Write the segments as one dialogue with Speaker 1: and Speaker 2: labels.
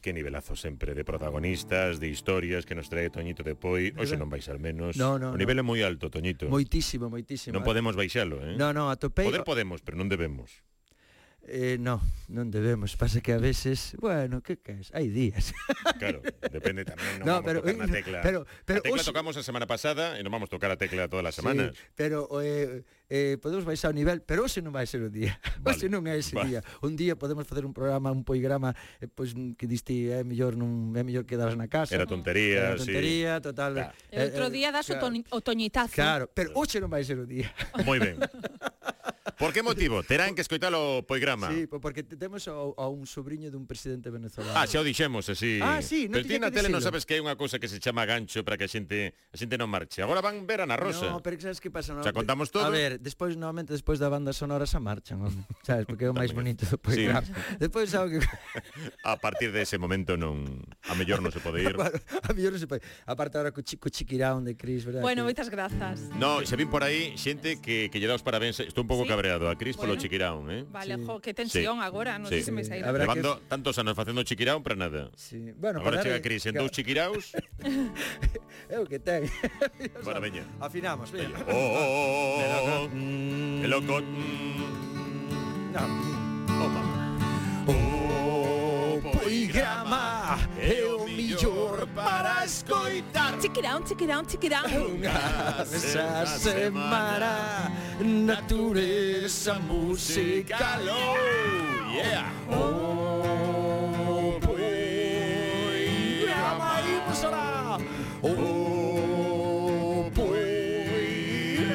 Speaker 1: Qué nivelazo sempre de protagonistas, de historias que nos trae Toñito de Poi, ou se non vais al menos.
Speaker 2: No, no,
Speaker 1: o
Speaker 2: no.
Speaker 1: nivel é moi alto, Toñito.
Speaker 2: Moitísimo, moitísimo.
Speaker 1: Non podemos baixalo, eh?
Speaker 2: No, no, a tope.
Speaker 1: Poder podemos, pero non debemos.
Speaker 2: Eh, no, non debemos, pasa que a veces, bueno, que caes, hai días.
Speaker 1: Claro, depende tamén, non
Speaker 2: No,
Speaker 1: vamos a
Speaker 2: pero,
Speaker 1: tocar na
Speaker 2: eh,
Speaker 1: tecla.
Speaker 2: pero- pero
Speaker 1: a tecla
Speaker 2: hoxe-
Speaker 1: tocamos a semana pasada e non vamos a tocar a tecla todas as semanas.
Speaker 2: Sí, pero eh, eh, podemos baixar o nivel, pero hoxe non vai ser o día.
Speaker 1: Vale.
Speaker 2: Hoxe non é ese
Speaker 1: Va.
Speaker 2: día. Un día podemos facer un programa, un poigrama, eh, pois mm, que diste é mellor non é mellor quedarse na casa.
Speaker 1: Era tontería,
Speaker 2: Era tontería, total.
Speaker 1: Claro.
Speaker 2: Eh,
Speaker 3: E outro día das o,
Speaker 2: claro,
Speaker 3: toni- o toñitazo.
Speaker 2: Claro, pero hoxe non vai ser o día.
Speaker 1: Moi ben. Por que motivo? Terán que escoitar o poigrama.
Speaker 2: Sí, po- porque te- temos ao, a un sobrinho dun presidente venezolano.
Speaker 1: Ah, xa o dixemos, así.
Speaker 2: Ah, sí, non
Speaker 1: Pero ti
Speaker 2: tiña
Speaker 1: na
Speaker 2: que
Speaker 1: tele non
Speaker 2: dicilo.
Speaker 1: sabes que hai unha cousa que se chama gancho para que a xente a xente non marche. Agora van ver a Ana Rosa.
Speaker 2: No, pero que sabes que pasa? No,
Speaker 1: Xa contamos todo.
Speaker 2: A ver, despois, novamente, despois da banda sonora xa marchan, home. Sabes, porque é o máis bonito do programa. Despois xa o que...
Speaker 1: A partir de ese momento non a mellor non se pode ir.
Speaker 2: Bueno, a mellor non se pode. Aparte ahora co chico chiquirán de Cris, verdad?
Speaker 3: Bueno,
Speaker 2: Que-
Speaker 3: moitas grazas.
Speaker 1: No, se vin por aí xente que, que lle dá os parabéns. Estou un pouco
Speaker 3: Sí.
Speaker 1: cabreado a Cris polo
Speaker 3: Bueno.
Speaker 1: chiquirán, eh?
Speaker 3: Vale,
Speaker 2: Sí.
Speaker 3: jo, que tensión
Speaker 1: Sí.
Speaker 3: agora, non
Speaker 1: Sí.
Speaker 3: sei se me sairá.
Speaker 2: A ver, Habrá
Speaker 1: Levando tantos anos facendo chiquirán para nada.
Speaker 2: Sí. Bueno,
Speaker 1: Agora
Speaker 2: para
Speaker 1: chega
Speaker 2: darle-
Speaker 1: Cris en dous chiquiraos.
Speaker 2: É o que ten.
Speaker 1: Bueno, veña.
Speaker 2: Afinamos, veña.
Speaker 1: Oh, oh, oh, oh, oh.
Speaker 2: Mm,
Speaker 1: Que loco. Mm.
Speaker 2: no.
Speaker 1: Oh, mamá. Oh,
Speaker 2: O poigrama é o millor para
Speaker 1: escoitar.
Speaker 3: Chiquirán, chiquirán, chiquirán.
Speaker 2: Unha vez a semana Natureza musical
Speaker 1: Oh, yeah.
Speaker 2: O poigrama Imos alá. O Pois.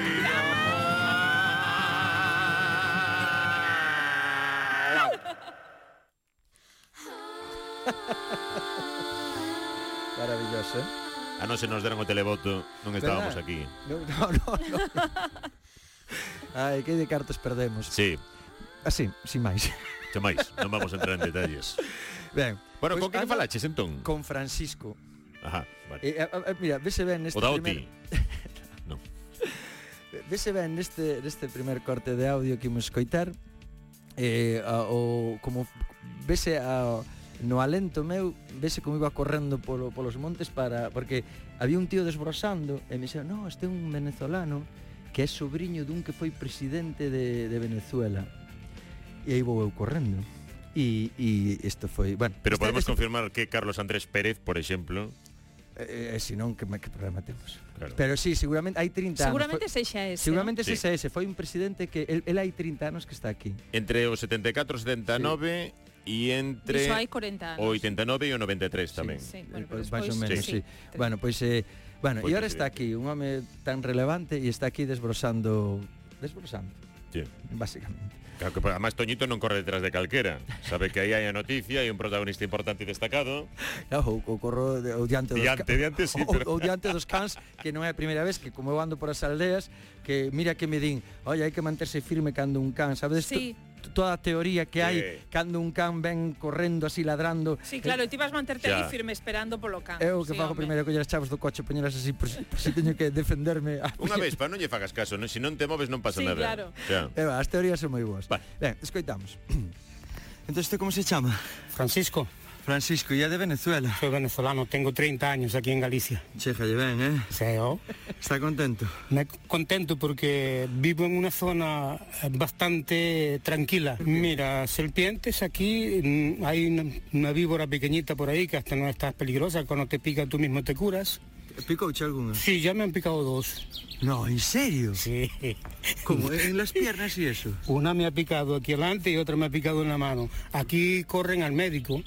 Speaker 2: Maravilloso, eh?
Speaker 1: A non se nos deran o televoto, non estábamos
Speaker 2: ¿Verdad?
Speaker 1: aquí.
Speaker 2: No, no, no, no. Ai, que de cartas perdemos.
Speaker 1: Sí,
Speaker 2: Así, sin máis.
Speaker 1: chamais, non vamos a entrar en detalles.
Speaker 2: Ben.
Speaker 1: Bueno,
Speaker 2: pois
Speaker 1: con que
Speaker 2: ando
Speaker 1: falaches entón?
Speaker 2: Con Francisco.
Speaker 1: Ajá, vale.
Speaker 2: Eh, a, a, mira, vese ben neste
Speaker 1: O da
Speaker 2: primer,
Speaker 1: Oti. Non.
Speaker 2: vese ben neste neste primer corte de audio que imos coitar. Eh, a, o como vese a no alento meu vese como iba correndo polo, polos montes para porque había un tío desbrosando e me dixo, "No, este é un venezolano que é sobrinho dun que foi presidente de, de Venezuela." E aí vou eu correndo. E, e isto foi, bueno,
Speaker 1: Pero
Speaker 2: este-
Speaker 1: podemos
Speaker 2: este-
Speaker 1: confirmar que Carlos Andrés Pérez, por exemplo,
Speaker 2: Eh, eh, senón que, que programa temos.
Speaker 1: Claro.
Speaker 2: Pero sí, seguramente hai 30
Speaker 3: Seguramente
Speaker 2: anos.
Speaker 3: sexa
Speaker 2: Foi,
Speaker 3: ese.
Speaker 2: seguramente
Speaker 1: Sí.
Speaker 2: sí. ese ese foi un presidente que el, el hai 30 anos que está aquí.
Speaker 1: entre o 74 e 79 e
Speaker 3: non? Iso hai
Speaker 1: entre
Speaker 3: 40 anos.
Speaker 1: o 89 e o 93 tamén.
Speaker 3: Sí,
Speaker 2: Eh,
Speaker 3: bueno, pero
Speaker 2: pois, máis ou
Speaker 3: despois-
Speaker 2: menos,
Speaker 3: sí.
Speaker 2: sí. Bueno, pois eh, bueno,
Speaker 1: Foi
Speaker 2: e agora está
Speaker 1: presidente.
Speaker 2: aquí un home tan relevante e está aquí desbrosando desbrosando,
Speaker 1: Sí.
Speaker 2: basicamente.
Speaker 1: Claro que, además, Toñito non corre detrás de calquera. Sabe que aí hai a noticia, hai un protagonista importante e destacado.
Speaker 2: Claro, o, o corro de, o diante dos
Speaker 1: Diante,
Speaker 2: ca- Oh.
Speaker 1: diante, sí,
Speaker 2: o,
Speaker 1: pero-
Speaker 2: o diante dos cans que non é a primeira vez que como eu ando por as aldeas que mira que me din, "Oye, hai que manterse firme cando un can", sabes?
Speaker 3: Sí.
Speaker 2: To- Toda a teoría que hai
Speaker 1: Sí.
Speaker 2: cando un can ven correndo así ladrando.
Speaker 3: Sí, claro, e ti vas manterte
Speaker 1: Xa.
Speaker 3: ali firme esperando polo can.
Speaker 2: Eu que
Speaker 3: Sí,
Speaker 2: fago
Speaker 3: home.
Speaker 2: primeiro coller as chaves do coche, poñelas así por, si- por si teño que defenderme. A...
Speaker 1: Unha vez, para non lle fagas caso, non? se non te moves non pasa
Speaker 3: Sí,
Speaker 1: nada.
Speaker 3: claro.
Speaker 1: Xa.
Speaker 2: Eh, va, as teorías son moi boas.
Speaker 1: Vale.
Speaker 2: Ben, escoitamos. Entonces, Entón, como se chama?
Speaker 4: Francisco,
Speaker 2: Francisco, e é de Venezuela.
Speaker 4: soy venezolano, tengo 30 años aquí en Galicia.
Speaker 2: Cheja, lle ben, eh?
Speaker 4: O sea, yo
Speaker 2: Está contento.
Speaker 4: me contento porque vivo en una zona bastante tranquila. Mira, serpientes aquí, mm, hay una, una víbora pequeñita por ahí que hasta no está peligrosa, cuando te pica tú mismo te curas.
Speaker 2: Picouche algunha?
Speaker 4: Sí, ya me han picado dos.
Speaker 2: No, en serio?
Speaker 4: Sí.
Speaker 2: Como en las piernas y eso.
Speaker 4: Una me ha picado aquí adelante y otra me ha picado en la mano. Aquí corren al médico.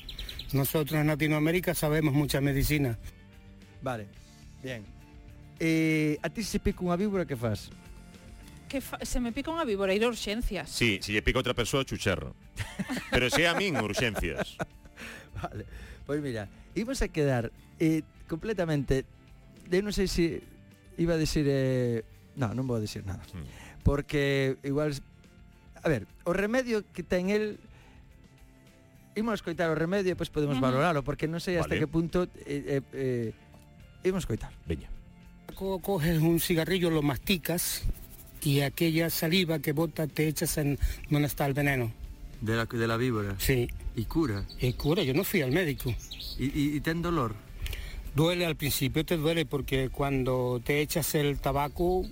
Speaker 4: Nosotros en Latinoamérica sabemos mucha medicina.
Speaker 2: Vale. Bien. Eh, a ti se pica unha víbora que fas?
Speaker 3: Que fa- se me pica unha víbora ir a urxencias.
Speaker 1: Sí, se lle pica outra persoa, chucharro. Pero se é a min, urxencias.
Speaker 2: Vale. Pois mira, imos a quedar eh, completamente eu non sei se iba a decir eh, no, non vou a decir nada.
Speaker 1: Mm.
Speaker 2: Porque igual a ver, o remedio que ten el imos coitar o remedio e pois podemos
Speaker 3: Ujú.
Speaker 2: valoralo porque non sei hasta
Speaker 1: Vale.
Speaker 2: que punto eh, eh, eh, imos coitar.
Speaker 1: Veña.
Speaker 4: Co- Coges un cigarrillo, lo masticas y aquella saliva que bota te echas en donde está el veneno.
Speaker 5: de la, de la víbora.
Speaker 4: Sí.
Speaker 5: Y cura.
Speaker 4: Y cura, yo no fui al médico.
Speaker 5: ¿Y, y, y ten dolor?
Speaker 4: Duele al principio, te duele porque cuando te echas el tabaco,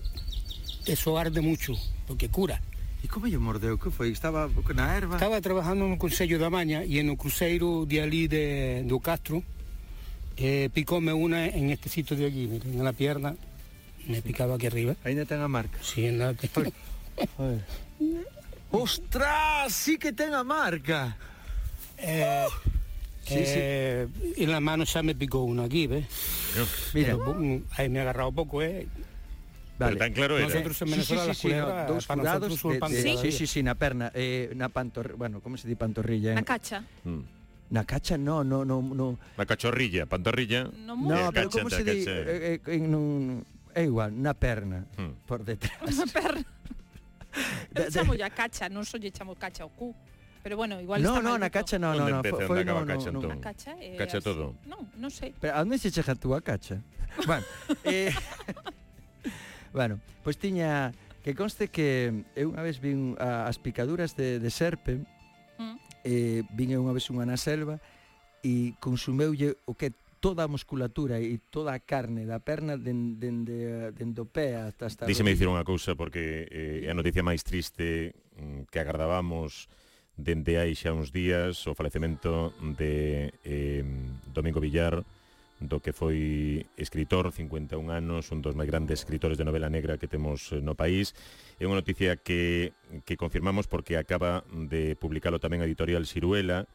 Speaker 4: eso arde mucho, porque cura.
Speaker 5: E como lle mordeu? Que foi? Estaba na
Speaker 2: Ah.
Speaker 5: erva?
Speaker 4: Estaba trabajando no Consello da Maña e no cruceiro de ali de, do Castro eh, picóme una en este sitio de aquí, mira, en la pierna, me picaba aquí arriba.
Speaker 5: Ainda ten a marca?
Speaker 4: Sí, en la...
Speaker 5: Ai. Ostras, sí que ten a marca.
Speaker 4: Eh,
Speaker 5: Sí, sí.
Speaker 4: eh, en la mano ya me picó una aquí, ¿ves?
Speaker 2: Mira,
Speaker 4: Pero, bu- mm, ahí me ha agarrado poco, ¿eh?
Speaker 1: Pero tan
Speaker 2: vale.
Speaker 1: claro era.
Speaker 4: Nosotros en
Speaker 2: Sí, sí,
Speaker 4: Venezuela
Speaker 2: sí,
Speaker 4: las
Speaker 2: sí, no,
Speaker 4: culebras,
Speaker 2: dous
Speaker 4: para
Speaker 2: cuidados
Speaker 4: nosotros son
Speaker 2: de-
Speaker 4: pan
Speaker 2: de-
Speaker 4: de cada
Speaker 2: sí,
Speaker 4: día.
Speaker 2: sí, sí, na perna, eh, na pantorrilla, bueno, como se di pantorrilla? eh.
Speaker 3: Na
Speaker 2: En,
Speaker 3: cacha.
Speaker 1: Mm.
Speaker 2: na cacha, no, no, no, no.
Speaker 1: La cachorrilla, pantorrilla.
Speaker 3: No
Speaker 2: No,
Speaker 3: mola.
Speaker 1: Eh,
Speaker 2: pero
Speaker 1: cacha,
Speaker 2: como se
Speaker 1: ta,
Speaker 2: di
Speaker 1: cacha.
Speaker 2: eh, eh, en un é igual, na perna,
Speaker 1: Mm.
Speaker 2: por detrás.
Speaker 3: Unha perna.
Speaker 2: Da- da-
Speaker 3: Eu chamo a cacha, non só lle chamo cacha ao cu. Pero bueno, igual
Speaker 2: no,
Speaker 3: está
Speaker 2: no,
Speaker 3: mal
Speaker 2: na
Speaker 3: dito.
Speaker 2: cacha no, no,
Speaker 1: Onde
Speaker 2: no,
Speaker 1: empeza e
Speaker 2: fo-
Speaker 1: onde
Speaker 2: foi
Speaker 1: acaba
Speaker 2: no,
Speaker 1: a cacha,
Speaker 2: no,
Speaker 1: entón?
Speaker 2: no.
Speaker 3: A cacha é
Speaker 1: Cacha
Speaker 3: así.
Speaker 1: todo.
Speaker 3: Non, non sei.
Speaker 2: Pero a onde se chega tú a cacha? Bueno, eh, bueno, pois tiña que conste que eu unha vez vin a- as picaduras de, de serpe,
Speaker 3: Mm.
Speaker 2: eh, vin eu unha vez unha na selva e consumeulle o que é toda a musculatura e toda a carne da perna den, dende, dende o pé hasta, hasta
Speaker 1: Díxeme dicir unha cousa porque eh, é a noticia máis triste mm, que agardábamos dende hai xa uns días o falecemento de eh, Domingo Villar do que foi escritor, 51 anos, un dos máis grandes escritores de novela negra que temos eh, no país. É unha noticia que, que confirmamos porque acaba de publicalo tamén a editorial Siruela,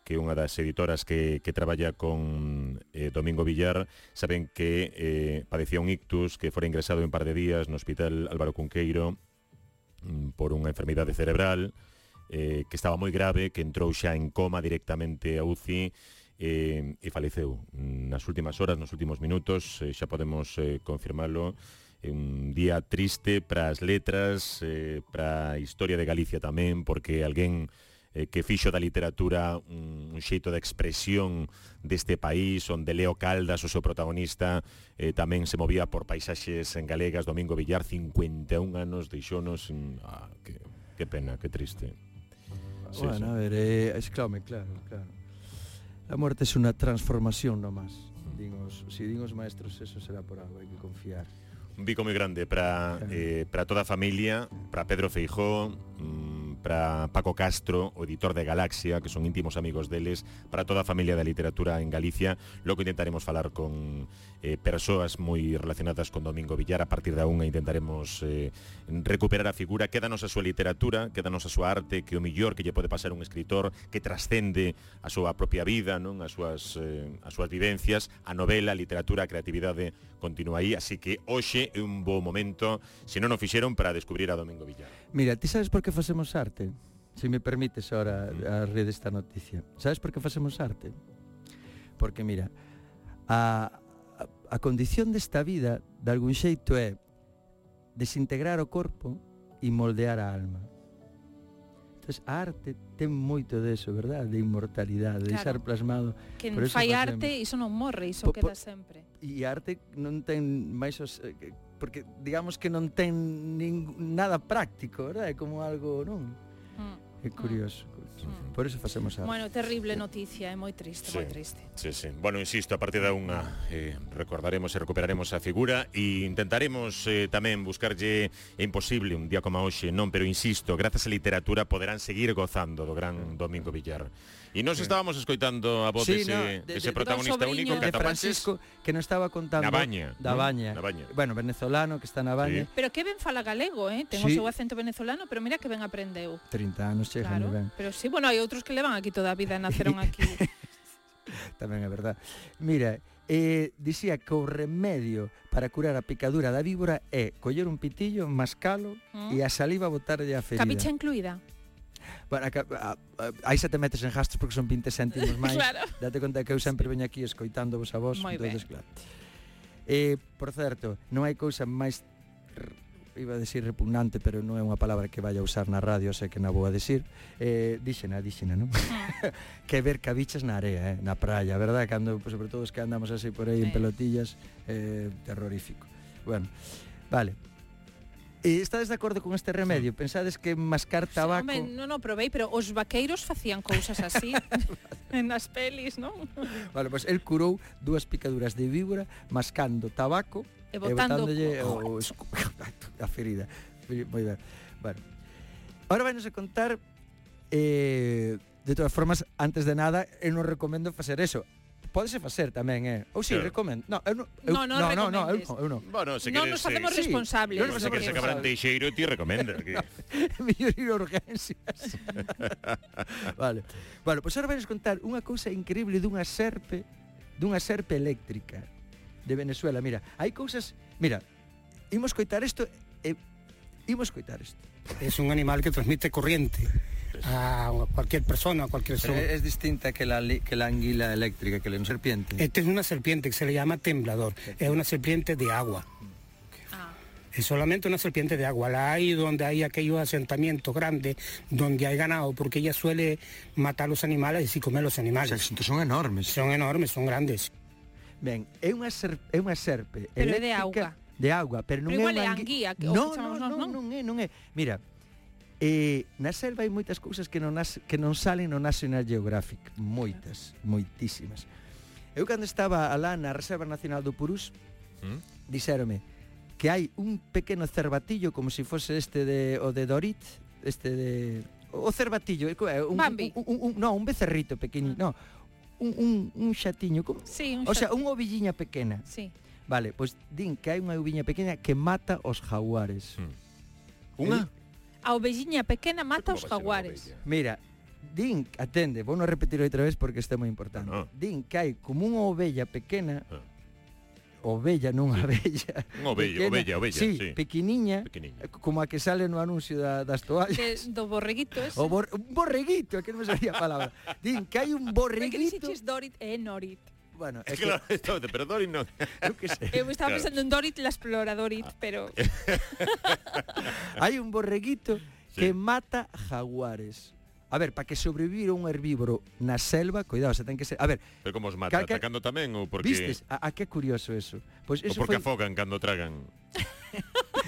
Speaker 1: que é unha das editoras que, que traballa con eh, Domingo Villar, saben que eh, padecía un ictus, que fora ingresado en par de días no hospital Álvaro Cunqueiro mm, por unha enfermidade cerebral, eh, que estaba moi grave, que entrou xa en coma directamente a UCI, eh, e faleceu Mm, nas últimas horas, nos últimos minutos, eh, xa podemos eh, confirmalo, É un día triste para as letras, eh, para a historia de Galicia tamén, porque alguén eh, que fixo da literatura un, un xeito de expresión deste país, onde Leo Caldas, o seu protagonista, eh, tamén se movía por paisaxes en galegas, Domingo Villar, 51 anos, deixonos... mm, Ah, que, que pena, que triste. Sí, sí.
Speaker 2: bueno, a ver, eh, es clame, claro, claro. A morte é unha transformación nomás.
Speaker 1: Mm.
Speaker 2: Din os, si din os maestros, eso será por algo, hai que confiar.
Speaker 1: Un bico moi grande para eh, para toda a familia, para Pedro Feijó, mm, para Paco Castro, o editor de Galaxia, que son íntimos amigos deles, para toda a familia da literatura en Galicia. Logo intentaremos falar con eh, persoas moi relacionadas con Domingo Villar a partir da unha intentaremos eh, recuperar a figura. Quédanos a súa literatura, quédanos a súa arte, que o millor que lle pode pasar a un escritor que trascende a súa propia vida, non as súas, eh, as súas vivencias, a novela, a literatura, a creatividade continua aí, así que hoxe é un bo momento, se non o fixeron, para descubrir a Domingo Villar.
Speaker 2: Mira, ti sabes por que facemos arte? Se me permites ahora
Speaker 1: Mm.
Speaker 2: a red esta noticia. Sabes por que facemos arte? Porque mira, a, a, a condición desta vida, de algún xeito, é desintegrar o corpo e moldear a alma. Entonces, a arte ten moito deso, verdad? De inmortalidade, de
Speaker 3: Claro.
Speaker 2: deixar plasmado
Speaker 3: Quen
Speaker 2: Por eso
Speaker 3: fai
Speaker 2: facemos.
Speaker 3: arte, iso non morre, iso
Speaker 2: Po- po-
Speaker 3: queda sempre.
Speaker 2: e a arte non ten máis os eh, que- porque digamos que non ten ning, nada práctico, verdad? É como algo, non?
Speaker 3: Mm.
Speaker 2: É curioso. curioso.
Speaker 3: Mm.
Speaker 2: Por eso facemos arte.
Speaker 3: Bueno, terrible noticia, é moi triste,
Speaker 1: Sí.
Speaker 3: moi triste.
Speaker 1: Sí, sí. Bueno, insisto, a partir da unha eh, recordaremos e recuperaremos a figura e intentaremos eh, tamén buscarlle é imposible un día como hoxe, non, pero insisto, grazas á literatura poderán seguir gozando do gran Domingo Villar. E nós estábamos escoitando a voz
Speaker 2: Sí,
Speaker 1: dese,
Speaker 2: no, de-
Speaker 1: dese
Speaker 2: de-
Speaker 1: protagonista
Speaker 3: do
Speaker 1: único
Speaker 3: sobriño.
Speaker 2: de
Speaker 1: catapanches
Speaker 2: Francisco que nos estaba contando
Speaker 1: na baña.
Speaker 2: da
Speaker 1: non?
Speaker 2: Baña.
Speaker 1: Na baña.
Speaker 2: Bueno, venezolano que está na Baña,
Speaker 1: Sí.
Speaker 3: Pero que ben fala galego, eh? Ten o
Speaker 2: Sí.
Speaker 3: seu acento venezolano, pero mira que ben aprendeu.
Speaker 2: 30 anos chega
Speaker 3: Claro,
Speaker 2: ben,
Speaker 3: pero sí, bueno, hai outros que levan aquí toda a vida, naceron aquí.
Speaker 2: tamén é verdad. Mira, eh, dicía que o remedio para curar a picadura da víbora é coller un pitillo, mascalo e
Speaker 3: Mm.
Speaker 2: a saliva botarlle a ferida.
Speaker 3: Capicha incluída.
Speaker 2: Bueno, a, ca- a, a, aí xa te metes en gastos porque son 20 céntimos máis.
Speaker 3: Claro.
Speaker 2: Date conta que eu sempre veño aquí escoitándovos a vos,
Speaker 3: Moi
Speaker 2: entonces claro. Eh, por certo, non hai cousa máis r- iba a decir repugnante, pero non é unha palabra que vaya a usar na radio, sei que na vou a decir. Eh, díxena, díxena, non?
Speaker 3: Ah.
Speaker 2: que ver cabichas na area, eh, na praia, verdad? Cando, pues, sobre todo os que andamos así por aí en
Speaker 3: Sí.
Speaker 2: pelotillas, eh, terrorífico. Bueno, vale. E estades de acordo con este remedio? Pensades que mascar tabaco...
Speaker 3: Home, non o probei, pero os vaqueiros facían cousas así en as pelis, non?
Speaker 2: Vale, pois pues, el curou dúas picaduras de víbora mascando tabaco
Speaker 3: E botando
Speaker 2: botándolle Eh, o, o
Speaker 3: co-
Speaker 2: escu- a ferida. Moi ben. Bueno. Ahora vamos a contar eh, de todas formas, antes de nada, eh, eu non recomendo facer eso. Pódese facer tamén, eh. Ou si, sí,
Speaker 1: Claro.
Speaker 2: recomendo. No, eu non, eu,
Speaker 3: No, non
Speaker 2: no, no, no, eu
Speaker 3: recomendes.
Speaker 2: non, eu non.
Speaker 1: Bueno, se
Speaker 3: non
Speaker 1: queres...
Speaker 3: nos hacemos
Speaker 2: Sí.
Speaker 3: responsables.
Speaker 2: Non
Speaker 1: Bueno,
Speaker 2: nos
Speaker 1: se
Speaker 2: hacemos
Speaker 1: queres acabar en
Speaker 2: responsables.
Speaker 1: Teixeiro, ti recomenda. Que...
Speaker 2: Mellor ir a urgencias. vale. Bueno, pues pois agora vais contar unha cousa increíble dunha serpe, dunha serpe eléctrica de Venezuela. Mira, hai cousas... Mira, imos coitar isto e imos coitar isto.
Speaker 4: Es un animal que transmite corriente a cualquier persona, a cualquier ser.
Speaker 5: Pero eh, es distinta que la, li- que la anguila eléctrica, que la serpiente.
Speaker 4: Esta Este es una serpiente que se le llama temblador. Es una serpiente de agua.
Speaker 3: Ah,
Speaker 4: Es solamente una serpiente de agua. La hay donde hay aquellos asentamientos grandes, donde hay ganado, porque ella suele matar los animales y comer los
Speaker 5: O sea,
Speaker 4: animales.
Speaker 5: que son enormes.
Speaker 4: Son enormes, son grandes.
Speaker 2: Ben, é unha serpe, é unha serpe
Speaker 3: Pero é de
Speaker 2: eléctrica de agua, pero non
Speaker 3: Pero igual
Speaker 2: é
Speaker 3: é
Speaker 2: unha
Speaker 3: anguía, que- o
Speaker 2: non,
Speaker 3: que
Speaker 2: non,
Speaker 3: chamamos
Speaker 2: non,
Speaker 3: nós,
Speaker 2: non,
Speaker 3: non?
Speaker 2: é, non é. Mira, eh, na selva hai moitas cousas que non, nas, que non salen no National Geographic. Moitas, moitísimas. Eu cando estaba alá na Reserva Nacional do Purús,
Speaker 1: Mm.
Speaker 2: dixérome que hai un pequeno cervatillo como se fose este de o de Dorit, este de o cervatillo, é co- é un,
Speaker 3: Bambi. Ah.
Speaker 2: un, un, un, no, un becerrito pequeniño, no, un, un, un xatiño, como,
Speaker 3: sí, un
Speaker 2: o sea,
Speaker 3: xa-
Speaker 2: unha ovilliña pequena.
Speaker 3: sí.
Speaker 2: Vale, pois din que hai unha oviña pequena que mata os jaguares. Eh,
Speaker 1: Unha?
Speaker 3: A ovelliña pequena mata
Speaker 1: Como vai
Speaker 3: os
Speaker 1: ser unha
Speaker 3: jaguares.
Speaker 1: ovella?
Speaker 2: Mira, din, atende, vou non repetir outra vez porque isto é moi importante.
Speaker 1: Ah.
Speaker 2: Din que hai como unha ovella pequena,
Speaker 1: Ah.
Speaker 2: ovella non abella.
Speaker 1: Unha ovella,
Speaker 2: pequena,
Speaker 1: ovella, ovella,
Speaker 2: Sí,
Speaker 1: sí.
Speaker 2: pequeniña,
Speaker 1: Pequeniña.
Speaker 2: eh, como a que sale no anuncio da, das toallas.
Speaker 3: De, do borreguito ese.
Speaker 2: O bor, un borreguito, que non me salía a palabra. Din que hai un
Speaker 3: Porque
Speaker 2: borreguito.
Speaker 3: dixeches Dorit e Norit.
Speaker 2: Bueno,
Speaker 1: Es
Speaker 2: é
Speaker 1: que,
Speaker 2: que,
Speaker 1: claro, esto, perdón y no.
Speaker 2: eu que sei.
Speaker 3: Eu Eh, estaba
Speaker 1: Claro.
Speaker 3: pensando en Dorit la exploradorit,
Speaker 2: Ah,
Speaker 3: pero
Speaker 2: eh, Hai un borreguito
Speaker 1: Sí.
Speaker 2: que mata jaguares. A ver, para que sobrevivir un herbívoro na selva, cuidado, se ten que ser... A ver,
Speaker 1: Pero como os mata,
Speaker 2: Calca-
Speaker 1: atacando tamén ou porque...
Speaker 2: vistes? A, a que curioso eso. Pois
Speaker 1: Ou
Speaker 2: eso
Speaker 1: porque
Speaker 2: foi...
Speaker 1: afogan cando tragan.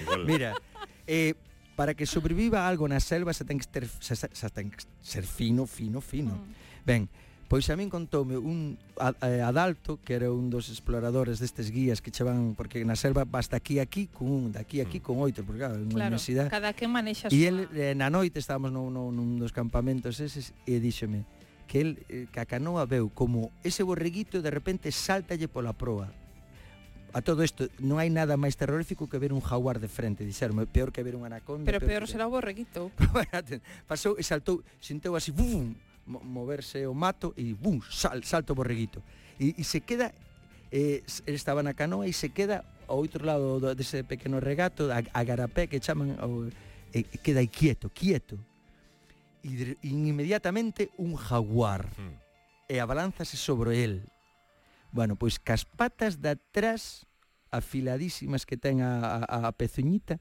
Speaker 1: Igual.
Speaker 2: Mira, eh, para que sobreviva algo na selva se ten que ter, se, se, se ten que ser fino, fino, fino. Mm. Ben, pois a min contoume un a- eh, adalto que era un dos exploradores destes guías que che van porque na selva vas daqui a aquí con un, daqui a aquí con oito, porque claro, é unha
Speaker 3: claro,
Speaker 2: universidade.
Speaker 3: cada que manexa a
Speaker 2: E
Speaker 3: súa-
Speaker 2: el eh, na noite estábamos nun, nun, nun dos campamentos eses e díxeme que el eh, que a canoa veu como ese borreguito de repente saltalle pola proa. A todo isto, non hai nada máis terrorífico que ver un jaguar de frente, dixerme, peor que ver un anaconda.
Speaker 3: pero peor
Speaker 2: que-
Speaker 3: será o borreguito.
Speaker 2: Bueno, aten- Pasou e saltou, sinteu así, bum, mo- moverse o mato e bum, sal, salto o borreguito. E, e se queda, eh, s- el estaba na canoa e se queda ao outro lado do- dese pequeno regato, a, a garapé que chaman, ao, e, e queda aí quieto, quieto. E de- inmediatamente un jaguar
Speaker 1: Mm.
Speaker 2: e abalánzase sobre el. Bueno, pois cas patas de atrás afiladísimas que ten a, a, a pezuñita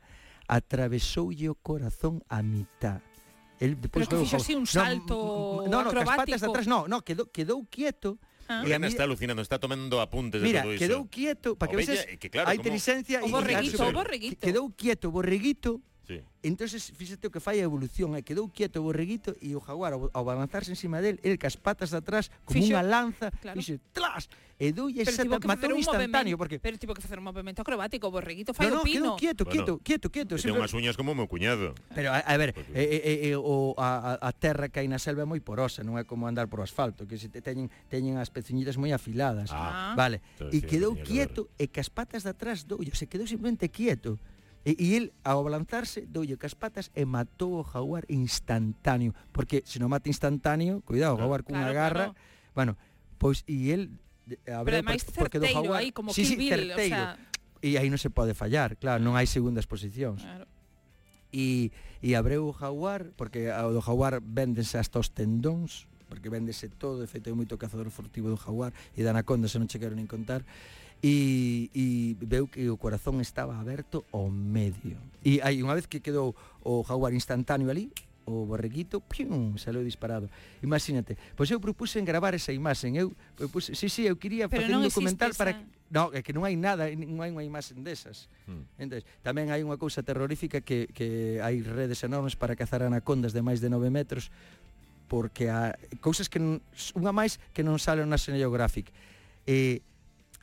Speaker 2: atravesoulle o corazón a mitad. El depois veu o
Speaker 3: Pero que fixo
Speaker 2: jabón.
Speaker 3: así un salto
Speaker 2: no, no, cas patas de
Speaker 3: acrobático.
Speaker 2: atrás, no, no, quedou, quedou quieto.
Speaker 3: Ah.
Speaker 2: E a
Speaker 1: Lorena
Speaker 2: mí-
Speaker 1: está alucinando, está tomando apuntes
Speaker 2: Mira,
Speaker 1: de todo iso.
Speaker 2: quedou quieto, para que
Speaker 1: Ovella,
Speaker 2: veces
Speaker 1: é que claro,
Speaker 2: a
Speaker 1: como-
Speaker 2: inteligencia
Speaker 3: O
Speaker 2: e-
Speaker 3: borreguito, o
Speaker 1: Claro.
Speaker 3: borreguito.
Speaker 2: quedou quieto, o borreguito,
Speaker 1: Sí.
Speaker 2: entonces fíxate o que fai a evolución, eh? quedou quieto o borreguito e o jaguar ao, ao avanzarse encima del, el cas patas de atrás, como
Speaker 3: Fixo-
Speaker 2: unha lanza,
Speaker 3: claro.
Speaker 2: fixo, tlas, e doulle
Speaker 3: Pero tivo
Speaker 2: exacta,
Speaker 3: que
Speaker 2: matou
Speaker 3: facer un
Speaker 2: instantáneo,
Speaker 3: movemento,
Speaker 2: porque...
Speaker 3: pero tivo que facer un movemento acrobático, o borreguito fai
Speaker 2: No, no,
Speaker 3: o pino.
Speaker 2: quedou quieto,
Speaker 1: Bueno,
Speaker 2: quieto, quieto, quieto.
Speaker 1: Que ten
Speaker 2: sempre-
Speaker 1: unhas uñas como o meu cuñado.
Speaker 2: Pero a, a ver,
Speaker 1: Pois,
Speaker 2: eh, eh, eh, o, a, a a terra que hai na selva é moi porosa, non é como andar por asfalto, que se te teñen, teñen as pezuñitas moi afiladas.
Speaker 1: Ah.
Speaker 2: vale,
Speaker 1: Entonces,
Speaker 2: e
Speaker 1: sí,
Speaker 2: quedou
Speaker 1: tenía que
Speaker 2: quieto e cas patas de atrás doulle, se quedou simplemente quieto. E, e el, ao abalanzarse, doulle cas patas e matou o jaguar instantáneo. Porque se non mata instantáneo, cuidado, o
Speaker 1: Claro.
Speaker 2: jaguar cunha
Speaker 3: Claro,
Speaker 2: garra...
Speaker 3: claro.
Speaker 2: Bueno, pois e el... de- abreu
Speaker 3: ademais
Speaker 2: por- porque do
Speaker 3: certeiro
Speaker 2: jaguar-
Speaker 3: aí, como
Speaker 2: sí,
Speaker 3: Kill
Speaker 2: sí, certeiro.
Speaker 3: Bill, o sea,
Speaker 2: E aí non se pode fallar, claro, non hai segundas posicións
Speaker 3: claro.
Speaker 2: e, e abreu o jaguar, porque ao do jaguar véndense hasta os tendóns, porque véndese todo, de feito hai moito cazador furtivo do jaguar e da anaconda, se non che quero nin contar, e, e veu que o corazón estaba aberto ao medio. E hai unha vez que quedou o jaguar instantáneo ali, o o borreguito, pium, saleu disparado. Imagínate. Pois eu propuxen gravar esa imaxen. Eu, eu puse, sí, sí, eu quería facer
Speaker 3: Pero
Speaker 2: un
Speaker 3: non existe
Speaker 2: documental para
Speaker 3: esa.
Speaker 2: que No, é que non hai nada, non hai unha imaxen desas.
Speaker 1: Hmm.
Speaker 2: Entonces, tamén hai unha cousa terrorífica que, que hai redes enormes para cazar anacondas de máis de 9 metros porque há cousas que non, unha máis que non salen na National Geographic. E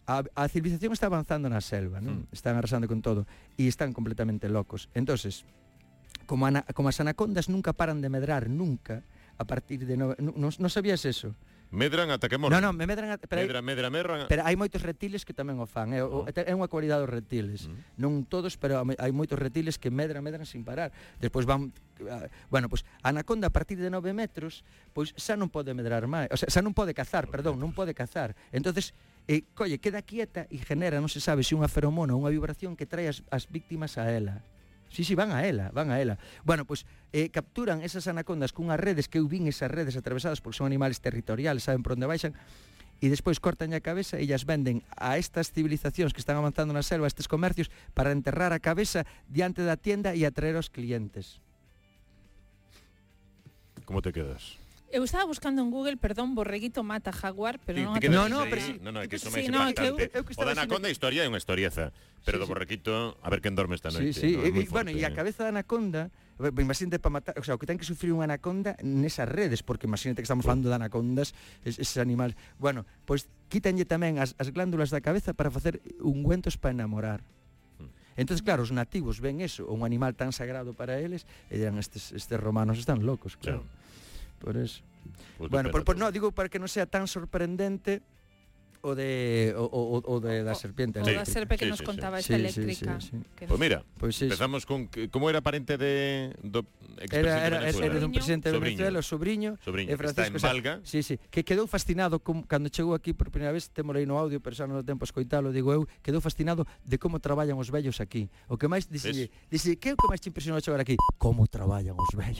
Speaker 2: a, a civilización está avanzando na selva, non?
Speaker 1: Mm.
Speaker 2: Están arrasando con todo e están completamente locos. Entonces, como, ana, como as anacondas nunca paran de medrar, nunca, a partir de... No, non, non sabías eso?
Speaker 1: Medran ata que
Speaker 2: Non,
Speaker 1: morren.
Speaker 2: non, me medran... a- Pero,
Speaker 1: medra, medra, medra.
Speaker 2: Pero hai moitos reptiles que tamén o fan, é, o-
Speaker 1: Ah.
Speaker 2: é unha cualidade dos reptiles.
Speaker 1: Mm.
Speaker 2: Non todos, pero hai- hai moitos reptiles que medran, medran sin parar. Despois van ah, bueno, pois a anaconda a partir de 9 metros, pois xa non pode medrar máis, o sea, xa non pode cazar, perdón, non pode cazar. Entonces, eh, colle, queda quieta e genera, non se sabe se unha feromona ou unha vibración que trae as, as víctimas a ela. Sí, sí, van a ela, van a ela. Bueno, pois eh, capturan esas anacondas cunhas redes que eu vin esas redes atravesadas porque son animales territoriales, saben por onde baixan, e despois cortan a cabeza e as venden a estas civilizacións que están avanzando na selva, a estes comercios, para enterrar a cabeza diante da tienda e atraer os clientes.
Speaker 1: Como te quedas?
Speaker 3: Eu estaba buscando en Google, perdón, borreguito mata jaguar, pero
Speaker 1: Ti-
Speaker 3: non
Speaker 1: ti
Speaker 3: atopo.
Speaker 1: quedas
Speaker 2: No,
Speaker 1: así
Speaker 2: no,
Speaker 1: aí?
Speaker 2: pero si-
Speaker 1: no, no, é que iso
Speaker 3: sí,
Speaker 1: máis
Speaker 3: no, é que eu-
Speaker 1: impactante.
Speaker 2: eu
Speaker 1: O
Speaker 2: que estaba
Speaker 1: da anaconda historia é unha historieza, pero
Speaker 2: Sí,
Speaker 1: do
Speaker 2: sí.
Speaker 1: borrequito, a ver quen dorme esta noite.
Speaker 2: Sí, sí,
Speaker 1: no,
Speaker 2: e,
Speaker 1: é moi
Speaker 2: e, bueno, e
Speaker 1: forte, eh.
Speaker 2: a cabeza da anaconda, eh, pois imagínate para matar, o sea, o que ten que sufrir unha anaconda nesas redes, porque imagínate que estamos falando de anacondas, es, eses animales. Bueno, pois quítanlle tamén as, as glándulas da cabeza para facer ungüentos para enamorar.
Speaker 1: Mm.
Speaker 2: Entonces, claro, os nativos ven eso, un animal tan sagrado para eles, e dirán, estes, estes romanos están locos,
Speaker 1: Xa,
Speaker 2: claro. Por eso.
Speaker 1: pues
Speaker 2: bueno, por,
Speaker 1: depende.
Speaker 2: por, no, digo para que non sea tan sorprendente o de o, o, o de da serpiente.
Speaker 3: O
Speaker 1: Sí.
Speaker 3: da
Speaker 2: eléctrica.
Speaker 3: serpe que
Speaker 1: Sí,
Speaker 3: nos
Speaker 1: sí, sí.
Speaker 2: Sí,
Speaker 3: contaba
Speaker 2: sí,
Speaker 3: esta eléctrica.
Speaker 2: sí, sí.
Speaker 3: que-
Speaker 1: Pois mira,
Speaker 2: Pois iso.
Speaker 1: empezamos con que- como era parente de do
Speaker 2: Era,
Speaker 1: expresidente de
Speaker 2: era, era,
Speaker 1: Venezuela.
Speaker 2: era dun
Speaker 3: Sobrinho.
Speaker 2: presidente de
Speaker 1: Sobrinho.
Speaker 2: Venezuela, o sobrinho,
Speaker 1: Sobrinho,
Speaker 2: e
Speaker 1: que está en
Speaker 2: Francisco Sá.
Speaker 1: Valga.
Speaker 2: Sí, sí, que quedou fascinado com, cando chegou aquí por primeira vez, temos aí no audio, pero xa non dá tempo a escoitalo, digo eu, quedou fascinado de como traballan os vellos aquí. O que máis dixille, dixille, que é o que máis te impresionou chegar aquí? Como traballan os vellos.